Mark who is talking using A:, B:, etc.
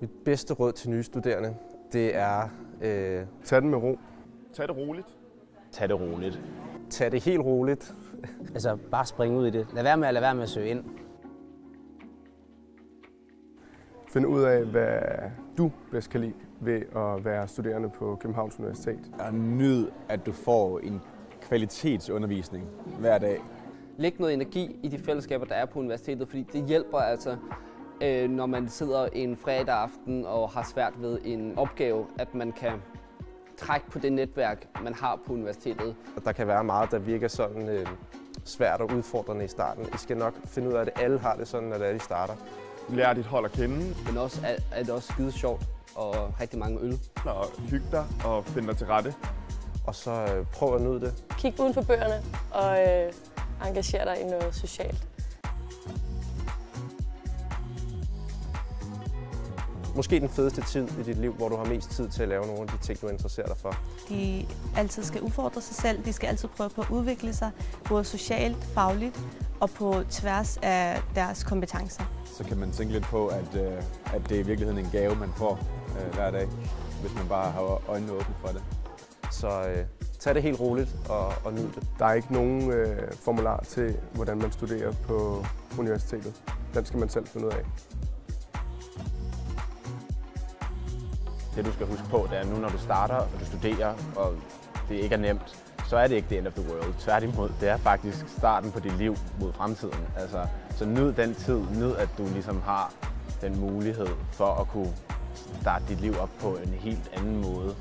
A: Mit bedste råd til nye studerende, det er, øh,
B: Tag den med ro.
C: Tag det roligt.
D: Tag det roligt.
A: tag det helt roligt.
E: Altså, bare spring ud i det. Lad være med at lade være med at søge ind.
B: Find ud af, hvad du bedst kan lide ved at være studerende på Københavns Universitet.
F: Og nyd, at du får en kvalitetsundervisning hver dag.
G: Læg noget energi i de fællesskaber, der er på universitetet, fordi det hjælper altså, øh, når man sidder en fredag aften og har svært ved en opgave, at man kan trække på det netværk, man har på universitetet.
A: Og der kan være meget, der virker sådan øh, svært og udfordrende i starten. I skal nok finde ud af, at alle har det sådan, når det er, de starter.
C: Lær dit hold at kende,
G: Men også er, er det også skide sjovt og rigtig mange øl.
C: og hygge dig og finde dig til rette.
A: Og så øh, prøv at nyde det.
H: Kig uden for bøgerne og øh, engager dig i noget socialt.
A: Måske den fedeste tid i dit liv, hvor du har mest tid til at lave nogle af de ting, du interesserer dig for.
I: De altid skal udfordre sig selv, de skal altid prøve på at udvikle sig, både socialt, fagligt og på tværs af deres kompetencer.
F: Så kan man tænke lidt på, at, øh, at det er i virkeligheden en gave, man får øh, hver dag, hvis man bare har øjnene åbne for det.
A: Så øh, tag det helt roligt og, og nyd det.
B: Der er ikke nogen øh, formular til, hvordan man studerer på universitetet. Den skal man selv finde ud af.
D: Det du skal huske på, det er nu, når du starter og du studerer, og det ikke er nemt, så er det ikke the end of the world. Tværtimod, det er faktisk starten på dit liv mod fremtiden. Altså, så nyd den tid, nyd at du ligesom har den mulighed for at kunne starte dit liv op på en helt anden måde.